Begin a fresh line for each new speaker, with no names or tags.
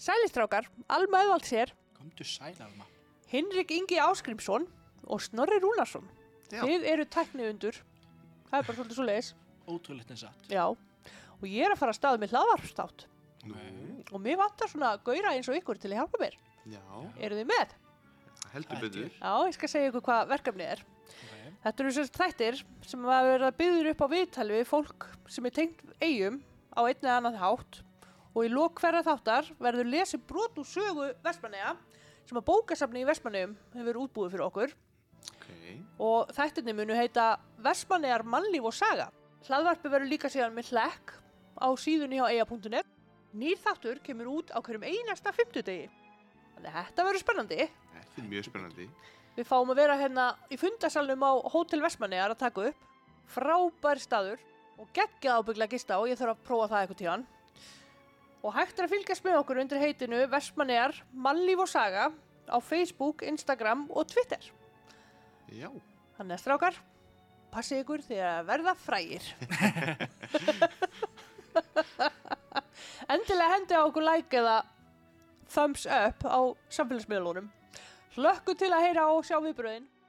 Sælistrákar, Alma Öðvalds hér,
Komdu sæl, Alma.
Hinrik Ingi Áskrimsson og Snorri Rúnarsson.
Já.
Þið eru tækniundur. Það er bara svolítið svo leiðis.
Ótrúleitt en satt.
Já. Og ég er að fara að staða með hlaðvarpstátt.
Nei.
Og mér vantar svona gauðra eins og ykkur til að hjálpa mér.
Já,
Eru þið með?
heldur
Það er
betur.
dýr.
Já, ég skal segja ykkur hvað verkefnið er.
Okay.
Þetta eru sérst þættir sem að vera byggður upp á viðtali við fólk sem er tengt eigum á einn eða annan hátt og í lók hverja þáttar verður lesið brot úr sögu Vestmanneja sem að bókasafni í Vestmannejum hefur útbúið fyrir okkur
Ok,
og þættinni munu heita Vestmannejar mannlíf og saga. Hlaðvarpi verður líka síðan með hlekk á síðunni hjá eia.net. Nýr þáttur kemur út á hverjum einasta fimmtudegi. Þannig að þetta verður spennandi.
þetta er mjög spennandi.
Við fáum að vera hérna í fundasalnum á Hótel Vestmannejar að taka upp. Frábær staður og geggjað ábyggla gista og ég þarf að prófa það eitthvað tíðan. Og hægt er að fylgjast með okkur undir heitinu Vestmannejar mannlíf og saga á Facebook, Instagram og Twitter.
Já,
Þannig að strákar, passið ykkur því að verða frægir. Endilega hendi á okkur like eða thumbs up á samfélagsmiðlunum. Hlökkum til að heyra og sjá viðbröðin.